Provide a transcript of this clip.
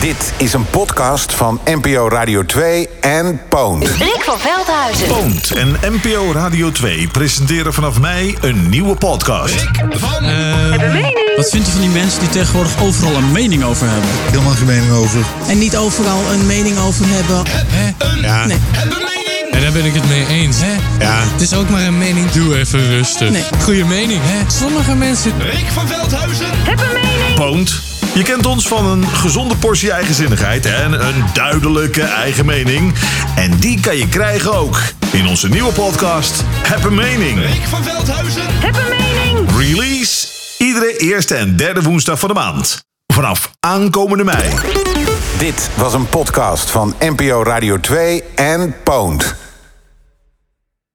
Dit is een podcast van NPO Radio 2 en Poont. Rick van Veldhuizen. Poont en NPO Radio 2 presenteren vanaf mei een nieuwe podcast. Wat vind je van die mensen die tegenwoordig overal een mening over hebben? helemaal geen mening over. En niet overal een mening over hebben. Ja. Nee. En daar ben ik het mee eens, hè? Ja. Het is ook maar een mening. Doe even rustig. Nee. Goeie mening, hè? Sommige mensen... Rick van Veldhuizen. Poont. Je kent ons van een gezonde portie eigenzinnigheid en een duidelijke eigen mening. En die kan je krijgen ook in onze nieuwe podcast Heb een Mening. Rick van Veldhuizen. Heb een mening. Release iedere eerste en derde woensdag van de maand. Vanaf aankomende mei. Dit was een podcast van NPO Radio 2 en Poont.